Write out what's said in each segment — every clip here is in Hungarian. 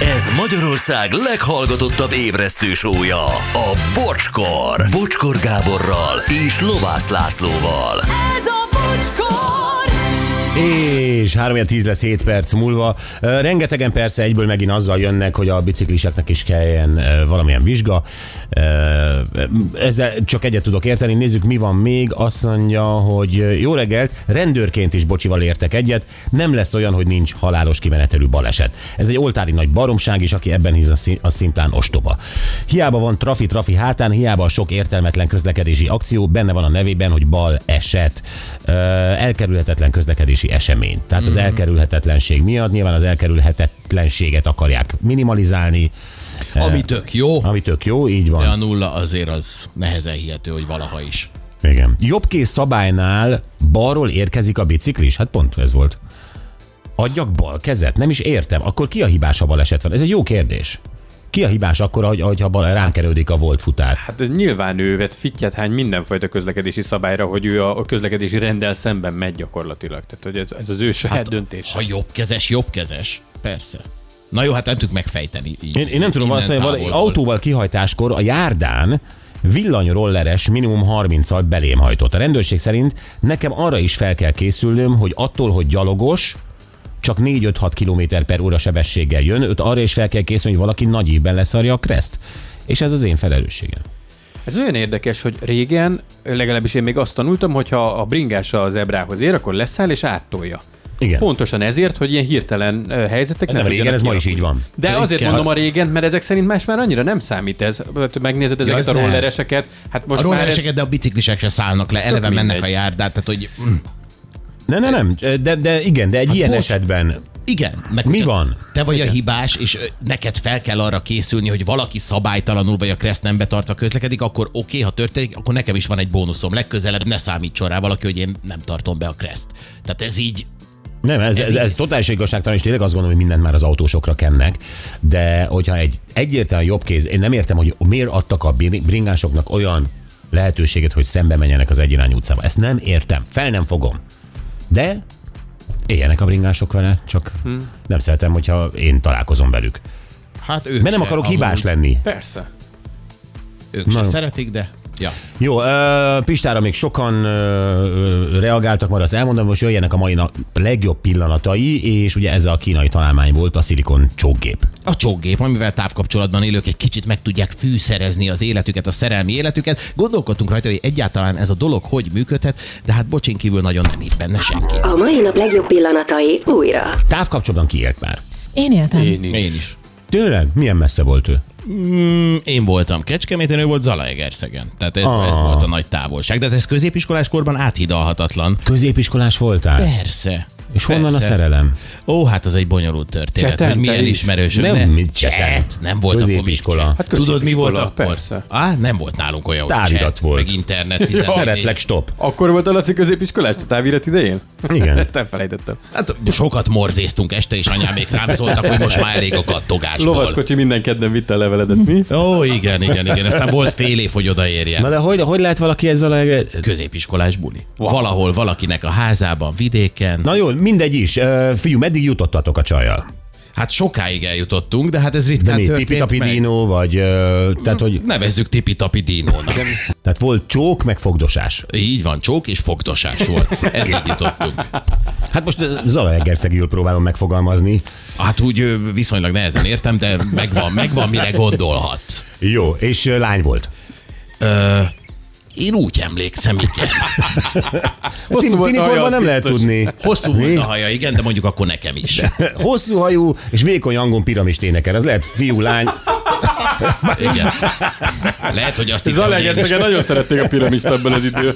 Ez Magyarország leghallgatottabb ébresztő sója, a Bocskor. Bocskor Gáborral és Lovász Lászlóval. Ez a bocskor! És 3 10 lesz 7 perc múlva. Ö, Rengetegen persze egyből megint azzal jönnek, hogy a bicikliseknek is kelljen ö, valamilyen vizsga. Ö, Ezzel csak egyet tudok érteni. Nézzük, mi van még. Azt mondja, hogy ö, jó reggelt, rendőrként is bocsival értek egyet. Nem lesz olyan, hogy nincs halálos kimenetelű baleset. Ez egy oltári nagy baromság, és aki ebben hisz, az szim- az szimplán ostoba. Hiába van trafi-trafi hátán, hiába a sok értelmetlen közlekedési akció, benne van a nevében, hogy bal eset. Ö, elkerülhetetlen közlekedési esemény. Tehát az elkerülhetetlenség miatt nyilván az elkerülhetetlenséget akarják minimalizálni, Ami tök jó, ami tök jó, így van. de a nulla azért az nehezen hihető, hogy valaha is. Igen. Jobbkész szabálynál balról érkezik a biciklis? Hát pont ez volt. Adjak bal kezet? Nem is értem. Akkor ki a hibás, ha baleset van? Ez egy jó kérdés. Ki a hibás akkor, ahogy, ahogyha bal, rám kerődik a volt futár? Hát ez nyilván ő vett fittyet hány mindenfajta közlekedési szabályra, hogy ő a, a közlekedési rendel szemben megy gyakorlatilag. Tehát hogy ez, ez az ő saját hát, döntés. Ha jobbkezes, jobbkezes. Persze. Na jó, hát nem tudjuk megfejteni. Így, Én, én nem tudom, innen valószínűleg valami távolból. autóval kihajtáskor a járdán villanyrolleres minimum 30-al belém hajtott. A rendőrség szerint nekem arra is fel kell készülnöm, hogy attól, hogy gyalogos, csak 4-5-6 km per óra sebességgel jön, őt arra is fel kell készülni, hogy valaki nagy ívben leszarja a kreszt. És ez az én felelősségem. Ez olyan érdekes, hogy régen, legalábbis én még azt tanultam, hogy ha a bringás a zebrához ér, akkor leszáll és áttolja. Igen. Pontosan ezért, hogy ilyen hirtelen ö, helyzetek Ez nem régen, tudjanak ez ma is így van. De Ez azért kell. mondom a régen, mert ezek szerint más már annyira nem számít ez. Hát Megnézed ezeket az ja, a nem. rollereseket, hát most A már ez... rollereseket, de a biciklisek se szállnak le, eleve mindegy. mennek a járdát, tehát hogy mm, Ne, ne, nem, de, de igen, de egy ilyen Hát bocs. esetben igen. Meg Mi hogyha van? Te vagy a hibás, és ö, neked fel kell arra készülni, hogy valaki szabálytalanul vagy a kereszt nem betartva közlekedik, akkor oké, okay, ha történik, akkor nekem is van egy bónuszom. Legközelebb ne számítson rá valaki, hogy én nem tartom be a kereszt. Tehát ez így Nem, ez, ez, így- ez, ez totális igazságtalan, és tényleg azt gondolom, hogy mindent már az autósokra kennek, de hogyha egy egyértelműen jobb kéz, én nem értem, hogy miért adtak a bri- bringásoknak olyan lehetőséget, hogy szembe menjenek az egyirányú utcába. Ezt nem értem, fel nem fogom. De éljenek a bringások vele, csak Hm. hmm. nem szeretem, hogyha én találkozom velük. Hát ők Mert nem se, akarok amúgy. hibás lenni. Persze. Ők se szeretik, de... Ja. Jó, ö, Pistára még sokan ö, ö, reagáltak, majd azt elmondom, most jöjjenek a mai nap legjobb pillanatai, és ugye ez a kínai találmány volt, a szilikon csókgép. A csógép, amivel távkapcsolatban élők egy kicsit meg tudják fűszerezni az életüket, a szerelmi életüket. Gondolkodtunk rajta, hogy egyáltalán ez a dolog hogy működhet, de hát bocsin kívül nagyon nem hitt benne senki. A mai nap legjobb pillanatai újra. Távkapcsolatban kiélt már. Én éltem. Én is. Én is. Tényleg? Milyen messze volt ő? Én voltam Kecskeméten, ő volt Zalaegerszegen. Tehát ez, ez volt a nagy távolság. De hát ez középiskolás korban áthidalhatatlan. Középiskolás voltál? Persze. És honnan a Persze. szerelem? Ó, hát az egy bonyolult történet, Cseten, hogy milyen te is? ismerősök. Nem, ne- mit cseten? Cset, nem volt Középiskola. akkor Hát Hát Tudod, mi középiskola, volt akkor? persze. Á, nem volt nálunk olyan, hogy Távirat chat, volt. meg internet. 14. Szeretlek, stop. Akkor volt a Laci középiskolás a távirat idején? Igen. Ezt nem felejtettem. Hát sokat morzéztunk este, és anyám még rám szóltak, hogy most már elég a kattogásból. Lovaskocsi minden kedden vitte a leveledet, mi? Hát Ó, igen, igen, igen. Aztán volt fél év, hogy odaérjen. Na de hogy, hogy lehet valaki ezzel a... Középiskolás buli. Valahol valakinek a házában, vidéken. Na jó, mindegy is. Ö, Fiú, meddig jutottatok a csajjal? Hát sokáig eljutottunk, de hát ez De ritkán mi, történt meg. tipitapidino, vagy... ö, Tehát, hogy, Nevezzük tipitapi dinónak. tehát volt csók, meg fogdosás. Így van, csók és fogdosás volt. Eddig jutottunk. Hát most ö, Zalaegerszegül próbálom megfogalmazni. Hát úgy ö, viszonylag nehezen értem, de megvan, megvan, mire gondolhatsz. Jó, és ö, lány volt. Én úgy emlékszem, igen. Hosszú Tini, volt tini a haja, korban az nem lehet biztos. tudni. Hosszú volt a haja, igen, de mondjuk akkor nekem is. Hosszú hajú és vékony angon piramist énekel. Az lehet fiú, lány. Igen. Lehet, hogy azt hittem, hogy én is- Zalaegerszegen nagyon szerették a piramist ebben az idő.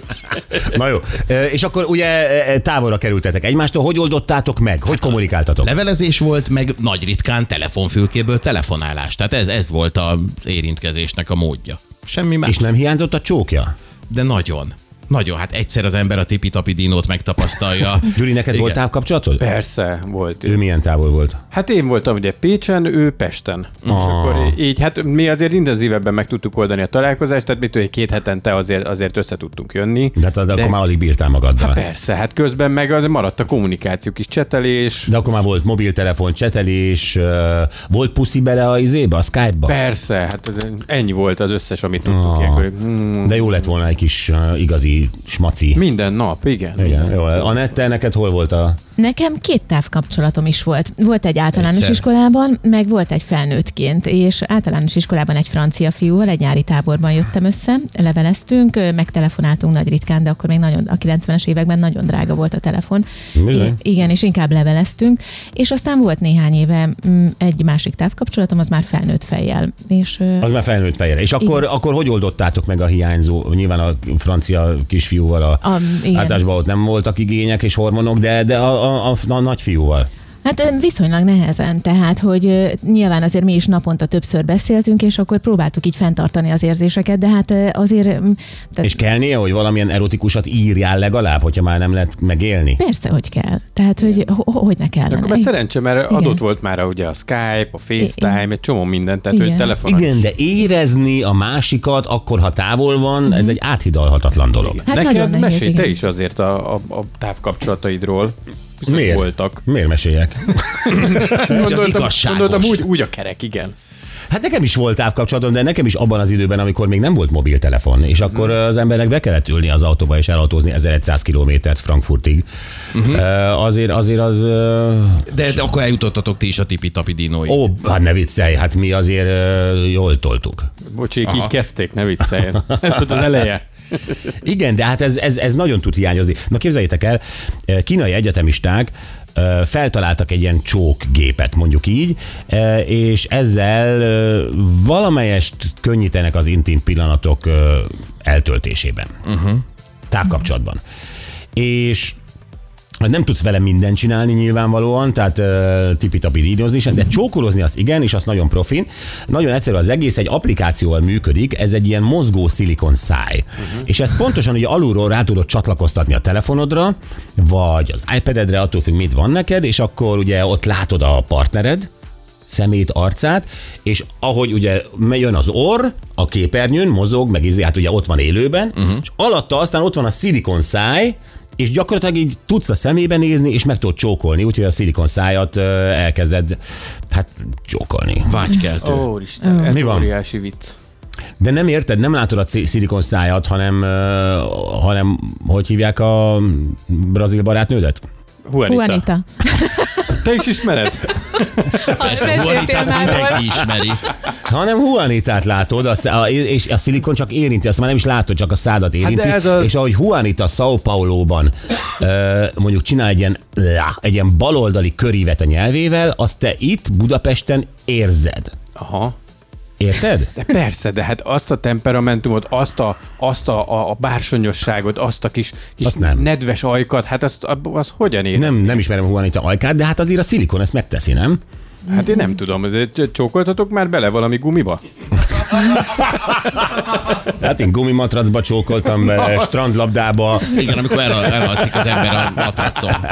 Na jó. Ö, És akkor ugye ö, távolra kerültetek egymástól. Hogy oldottátok meg? Hogy kommunikáltatok? Levelezés volt, meg nagy ritkán telefonfülkéből telefonálás. Tehát ez, ez volt az érintkezésnek a módja. Semmi más, És nem hiányzott a csókja? de nagyon. Nagyon, hát egyszer az ember a tipi-tapi dinót megtapasztalja. Gyuri, neked Igen. volt távkapcsolatod? Persze, volt. Ő milyen távol volt? Hát én voltam ugye Pécsen, ő Pesten. És akkor így, hát mi azért intenzívebben meg tudtuk oldani a találkozást, tehát mit tudom, két hetente azért, azért össze tudtunk jönni. hát, De, de, de akkor már alig bírtál magaddal. Hát persze, hát közben meg az- maradt a kommunikáció kis csetelés. De akkor már volt mobiltelefon, csetelés, ö, volt puszi bele a izébe, a Skype-ba? Persze, hát ez- ennyi volt az összes, amit tudtuk. Ilyenkor, hmm, De jó lett volna egy kis ö, igazi smaci. minden nap, igen. Igen, jó. Anette, neked hol volt a... Nekem két távkapcsolatom is volt. Volt egy általános Egyszer. Egyszer. iskolában, meg volt egy felnőttként, és általános iskolában egy francia fiúval egy nyári táborban jöttem össze, leveleztünk, ö, megtelefonáltunk nagy ritkán, de akkor még nagyon, a 90-es években nagyon drága volt a telefon. Bizony. I- igen, és inkább leveleztünk, és aztán volt néhány éve mm, egy másik távkapcsolatom, az már felnőtt fejjel, és ö, Az már felnőtt fejre. És akkor, akkor hogy oldottátok meg a hiányzó, nyilván a francia kisfiúval a, A- igen. általásban ott nem voltak igények és hormonok, de, de a, a, a, a nagyfiúval. Hát ö, viszonylag nehezen, tehát, hogy ö, nyilván azért mi is naponta többször beszéltünk, és akkor próbáltuk így fenntartani az érzéseket, de hát ö, azért... mm, Tehát És kellnie, hogy valamilyen erotikusat írjál legalább, hogyha már nem lehet megélni? Persze, hogy kell. Tehát, hogy ho- ho- hogy ne De kellene. Akkor már szerencse, mert Igen. adott volt már a- ugye a Skype, a FaceTime, egy csomó minden, tehát Igen. hogy telefonon is Igen, de érezni a másikat akkor, ha távol van, ez egy áthidalhatatlan dolog. Hát Neked nagyon nehéz, mesélj te igen. is azért a, a, a távkapcsolataidról. Biztos Miért? Voltak. Miért meséljek? igazságos. gondoltam úgy, úgy a kerek, igen. Hát nekem is volt távkapcsolatom, de nekem is abban az időben, amikor még nem volt mobiltelefon, és akkor az embernek be kellett ülni az autóba és elautózni 1100 kilométert Frankfurtig. Uh-huh. Azért, azért az... ö, De, de akkor eljutottatok ti is a tipi-tapi dinóig. Ó, hát ne viccelj, hát mi azért ö, jól toltuk. Bocsék, így kezdték, ne vicceljen. Ez volt az eleje. Igen, de hát ez, ez, ez nagyon tud hiányozni. Na képzeljétek el, eh, kínai egyetemisták ö, feltaláltak egy ilyen csókgépet, mondjuk így, ö, és ezzel ö, valamelyest könnyítenek az intim pillanatok ö, eltöltésében. Uh-huh. Távkapcsolatban. És nem tudsz vele mindent csinálni nyilvánvalóan, tehát uh, tipi-tapi dídozni sem, de csókolozni az igen, és az nagyon profin. Nagyon egyszerű az egész, egy applikációval működik, ez egy ilyen mozgó szilikon száj. Uh-huh. És ezt pontosan ugye alulról rá tudod csatlakoztatni a telefonodra, vagy az iPad-edre, attól függ, mit van neked, és akkor ugye ott látod a partnered, szemét, arcát, és ahogy ugye jön az orr, a képernyőn mozog, meg izé, hát ugye ott van élőben, uh-huh. és alatta aztán ott van a szilikon száj, és gyakorlatilag így tudsz a szemébe nézni, és meg tudod csókolni, úgyhogy a szilikon szájat ö, elkezded, hát csókolni. Vágykeltő. Ó, Isten, ez Mi van? óriási vicc. De nem érted, nem látod a szi- szilikon szájat, hanem, ö, hanem hogy hívják a brazil barátnődet? Juanita. Juanita. Juanita. Te is ismered? Persze, Juanitát mindenki ismeri. Hanem Juanitát látod, a, szá- a, és a szilikon csak érinti, azt már nem is látod, csak a szádat érinti. Hát de ez az- És ahogy Juanita São Paulo-ban ö, mondjuk csinál egy ilyen, lá, egy ilyen baloldali körívet a nyelvével, azt te itt Budapesten érzed. Aha. Érted? De persze, de hát azt a temperamentumot, azt a, azt a, a, a bársonyosságot, azt a kis, kis Azt nem. nedves ajkat, hát azt, az hogyan ér? Nem, nem ismerem Juanita ajkát, de hát azért a szilikon ezt megteszi, nem? Hát én nem tudom, azért csókoltatok már bele valami gumiba? Hát én gumimatracba csókoltam, ö, strandlabdába, Igen, amikor el, elhalszik az ember a matracon.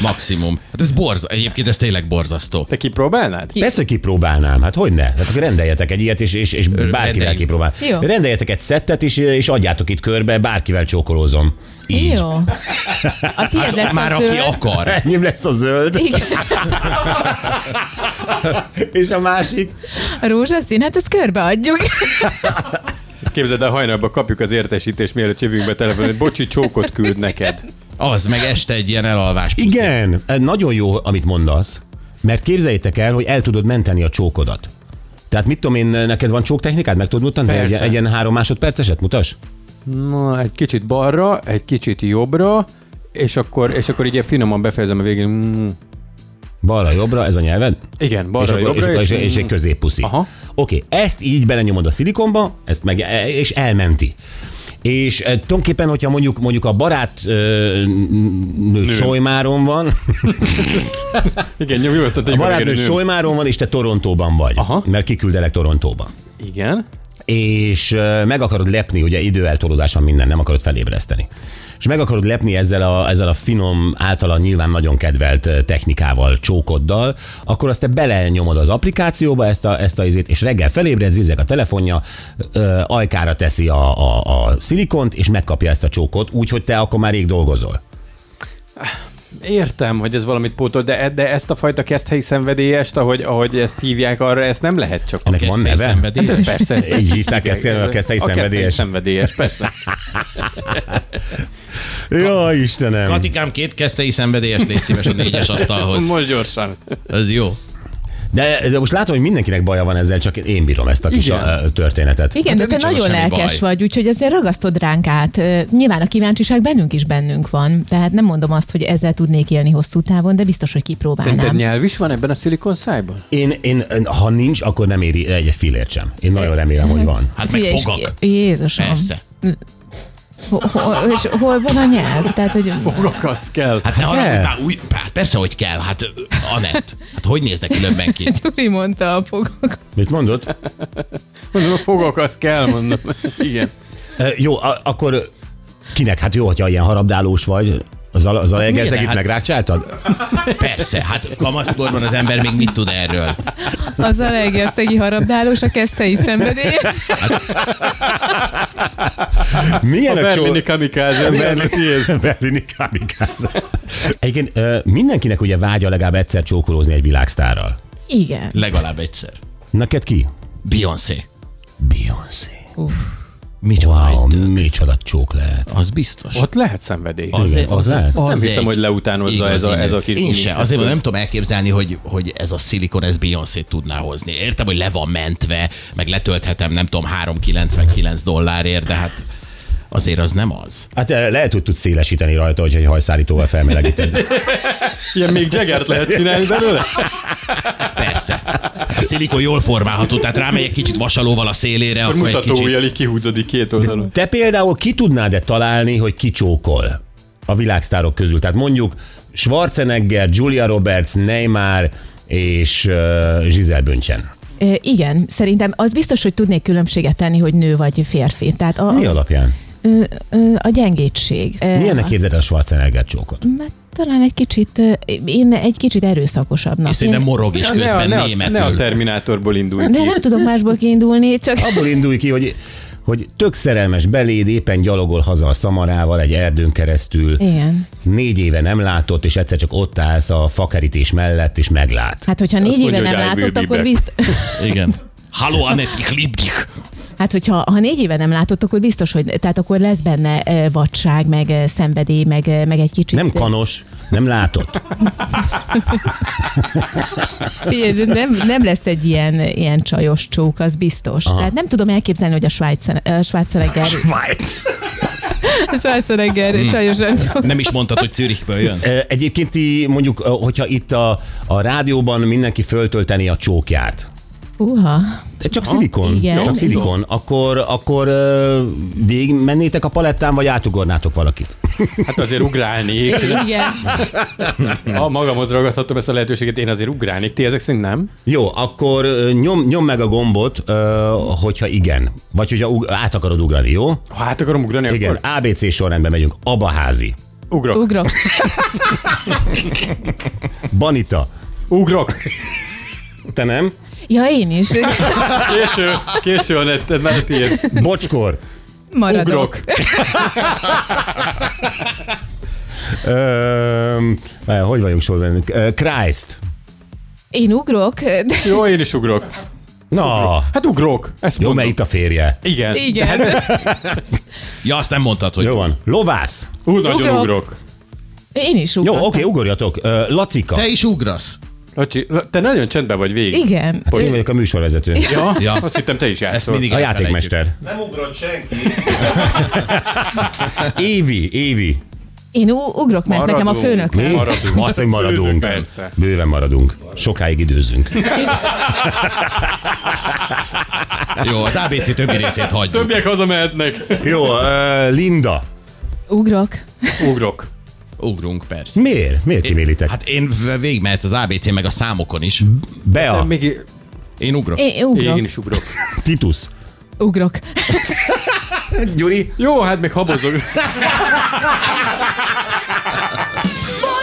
Maximum. Hát ez borz, egyébként ez tényleg borzasztó. Te kipróbálnád? Persze, hogy kipróbálnám, hát hogy ne? Hát akkor rendeljetek egy ilyet, és, és, és bárkivel rendeljük. kipróbál. Jó. Rendeljetek egy szettet, és, és adjátok itt körbe, bárkivel csókolózom. Így. Jó. A tiéd hát, lesz Már a aki zöld. akar. Enyém lesz a zöld, Igen, és a másik. a rózsaszín, hát ezt körbeadjuk. Képzeld el, hajnalban kapjuk az értesítést, mielőtt jövünk be telefonon, hogy bocsi, csókot küld neked. Az, meg este egy ilyen elalvás. puszi. Igen, nagyon jó, amit mondasz, mert képzeljétek el, hogy el tudod menteni a csókodat. Tehát mit tudom én, neked van csóktechnikád? Meg tudod mutatni? Egy, Persze. egy ilyen három másodperceset mutas? Na, egy kicsit balra, egy kicsit jobbra, és akkor, és akkor így finoman befejezem a végén. Mm, Balra, jobbra, ez a nyelved? igen, és, balra, akkor, jobbra. és, és, és egy középpuszi. Aha. Oké, ezt így belenyomod a szilikonba, ezt meg, e- és elmenti. És e, tulajdonképpen, hogyha mondjuk, mondjuk a barát ö, Solymáron van, igen, jó, jó, tehát a egy barátnőd nő. Solymáron van, és te Torontóban vagy, Aha. mert kiküldelek Torontóba. Igen. és ö, meg akarod lepni, ugye időeltolódás van minden, nem akarod felébreszteni. És meg akarod lepni ezzel a, ezzel a finom, általa nyilván nagyon kedvelt ö, technikával, csókoddal, akkor azt te belenyomod az applikációba ezt a, ezt a izét, és reggel felébredsz, zizek a telefonja, ö, ajkára teszi a, a, a szilikont, és megkapja ezt a csókot, úgyhogy te akkor már rég dolgozol. Értem, hogy ez valamit pótol, de, de ezt a fajta keszthelyi szenvedélyest, ahogy, ahogy ezt hívják arra, ezt nem lehet csak. Hát Ennek van neve? Hát Szenvedélyes? Persze. ezt- Így hívták ezt, a keszthelyi A szenvedélyes. szenvedélyes, persze. Jó, Istenem! Katikám, két kesztei szenvedélyes, légy szíves a négyes asztalhoz. Most gyorsan. Ez jó. De, de most látom, hogy mindenkinek baja van ezzel, csak én bírom ezt a kis Igen. a, a történetet. Igen, Hát de ez te nincs nagyon abban semmi lelkes baj. vagy, úgyhogy azért ragasztod ránk át. Ö, Nyilván a kíváncsiság bennünk is bennünk van, tehát nem mondom azt, hogy ezzel tudnék élni hosszú távon, de biztos, hogy Szerinted kipróbálnám. nyelv is van ebben a szilikon szájban? Én, én, ha nincs, akkor nem éri egy fillért sem. Én nagyon remélem, hogy van. Hát meg Figyelj, és- fogak. Jézusom. Persze. Ho- ho- és hol van a nyelv? Tehát, hogy Fogak, az kell. Hát ne kell. haragudj, már új, hát persze, hogy kell. Hát ö, Anett, hát hogy néznek különben ki? Gyuri mondta a fogok. Mit mondod? Mondom, a fogak, az kell, mondom. Igen. E, jó, a, akkor kinek? Hát jó, hogyha ilyen harabdálós vagy, az, al- az alegerszegit Hát- hát megrácsáltad? Persze, hát kamaszkorban az ember még mit tud erről? Az a legerszegi harabdálós, a kesztei szenvedélyes. Milyen A a, csó... Berlini kamikáze. Berlini kamikáze. Egyébként ö, mindenkinek ugye vágya legalább egyszer csókolózni egy világsztárral. Igen. Legalább egyszer. Neked ki? Beyoncé. Beyoncé. Micsoda Wow, egy- micsoda csók lehet. Az biztos. Ott lehet szenvedély. Az, Igen, az lehet. Nem az hiszem, egy hogy leutánozza igazi ez a- ez a nő. kis Én gumi- se, azért mondom, nem tudom elképzelni, hogy, hogy ez a szilikon, ez beyoncé tudná hozni. Értem, hogy le van mentve, meg letölthetem, nem tudom, 3,99 dollárért, de hát azért az nem az. Hát ö, lehet, hogy tudsz szélesíteni rajta, hogy egy hajszállítóval felmelegíted. Ilyen még Jaggert lehet csinálni belőle? Persze. Hát a szilikon jól formálható, tehát rámegy egy kicsit vasalóval a szélére, Akkor akkor, egy mutató kicsit... ujjal így kihúzódik két oldalon. Te például ki tudnád-e találni, hogy ki csókol a világsztárok közül? Tehát mondjuk Schwarzenegger, Julia Roberts, Neymar és uh, Giselle Bündchen. Ö, Igen, szerintem az biztos, hogy tudnék különbséget tenni, hogy nő vagy férfi. Tehát a, Mi alapján? ö, ö, a gyengétség. Ö, Milyennek a- képzeld el a Schwarzenegger csókot? Mert talán egy kicsit, ö, én egy kicsit erőszakosabbnak. És szerintem Én- morog is Hát, Ne a- közben ne a- Ne a németül. Terminátorból indulj de ki. nem tudok másból kiindulni, csak Abból indulj ki, hogy hogy tök szerelmes beléd éppen gyalogol haza a szamarával egy erdőn keresztül. igen. Négy éve nem látott, és egyszer csak ott állsz a fakerítés mellett, és meglát. Hát, hogyha négy mondja, éve nem hogy I will látott, be akkor back. bizt... Igen. Halló, Anett, ich lieb dich. Hát, hogyha ha négy éve nem látott, akkor biztos, hogy tehát akkor lesz benne ö, vadság, meg ö, szenvedély, meg, ö, meg egy kicsit... Nem kanos, nem látott. Figyelj, de nem, nem lesz egy ilyen, ilyen csajos csók, az biztos. Aha. Tehát nem tudom elképzelni, hogy a Schweizer- e, Schwarzenegger, Svájc. Schwarzenegger csajosan csók. Nem is mondtad, hogy Zürichből jön. Ö, Egyébként ti mondjuk, ö, hogyha itt a, a rádióban mindenki föltölteni a csókját, Uha. de csak szilikon, igen. csak Jó. szilikon, akkor, akkor ö, végigmennétek a palettán, vagy átugornátok valakit? Hát azért ugrálnék. Igen. Ha magamhoz ragadhatom ezt a lehetőséget, én azért ugrálnék. Ti ezek szerint nem? Jó, akkor ö, nyom, nyom meg a gombot, ö, hogyha igen, vagy hogyha ug, át akarod ugrani, jó? Ha hát akarom ugrani, Igen, akkor ABC sorrendben megyünk. Abaházi, ugrok. Ugrok. Banita, ugrok. te nem? Ja, én is. Késő, késő a net, ez már a tiéd. Bocskor, Maradok. Ugrok. ö, eh, hogy vagyunk sorban? Ö, Christ. Én ugrok. de- Jó, én is ugrok. Na, Hát ugrok. Ezt jó, mondom. mert itt a férje. Igen. Igen. Ja, azt nem mondtad, hogy Jó van. Lovász. Ú, nagyon Ugrok. ugrok. ugrok. Én is Jó, ugrok. oké, okay, ugorjatok. Ö, Lacika. te is ugrasz. Lacsi, te nagyon csendben vagy végig. Igen. Én vagyok a műsorvezető. Ja? Ja. ja? Azt hittem te is Ezt játszol. mindig A elfelejtjük. játékmester. Nem ugrott senki. Évi, Évi. Én u- ugrok, mert nekem a Maradunk. főnök. Mi? Maradunk. Azt, hogy maradunk. Persze. Bőven maradunk. Sokáig időzünk. Jó, az ABC többi részét hagyjuk. Többiek hazamehetnek. Jó, ö, Linda. Ugrok. Ugrok. Ugrunk, persze. Miért? Miért kimélitek? Hát, Hát én v- végigmehetsz az ABC meg a számokon is. Bea, Még Én ugrok. Én én ugrok. is ugrok. Titus, ugrok. Gyuri? Jó, hát még habozok. Bocskor!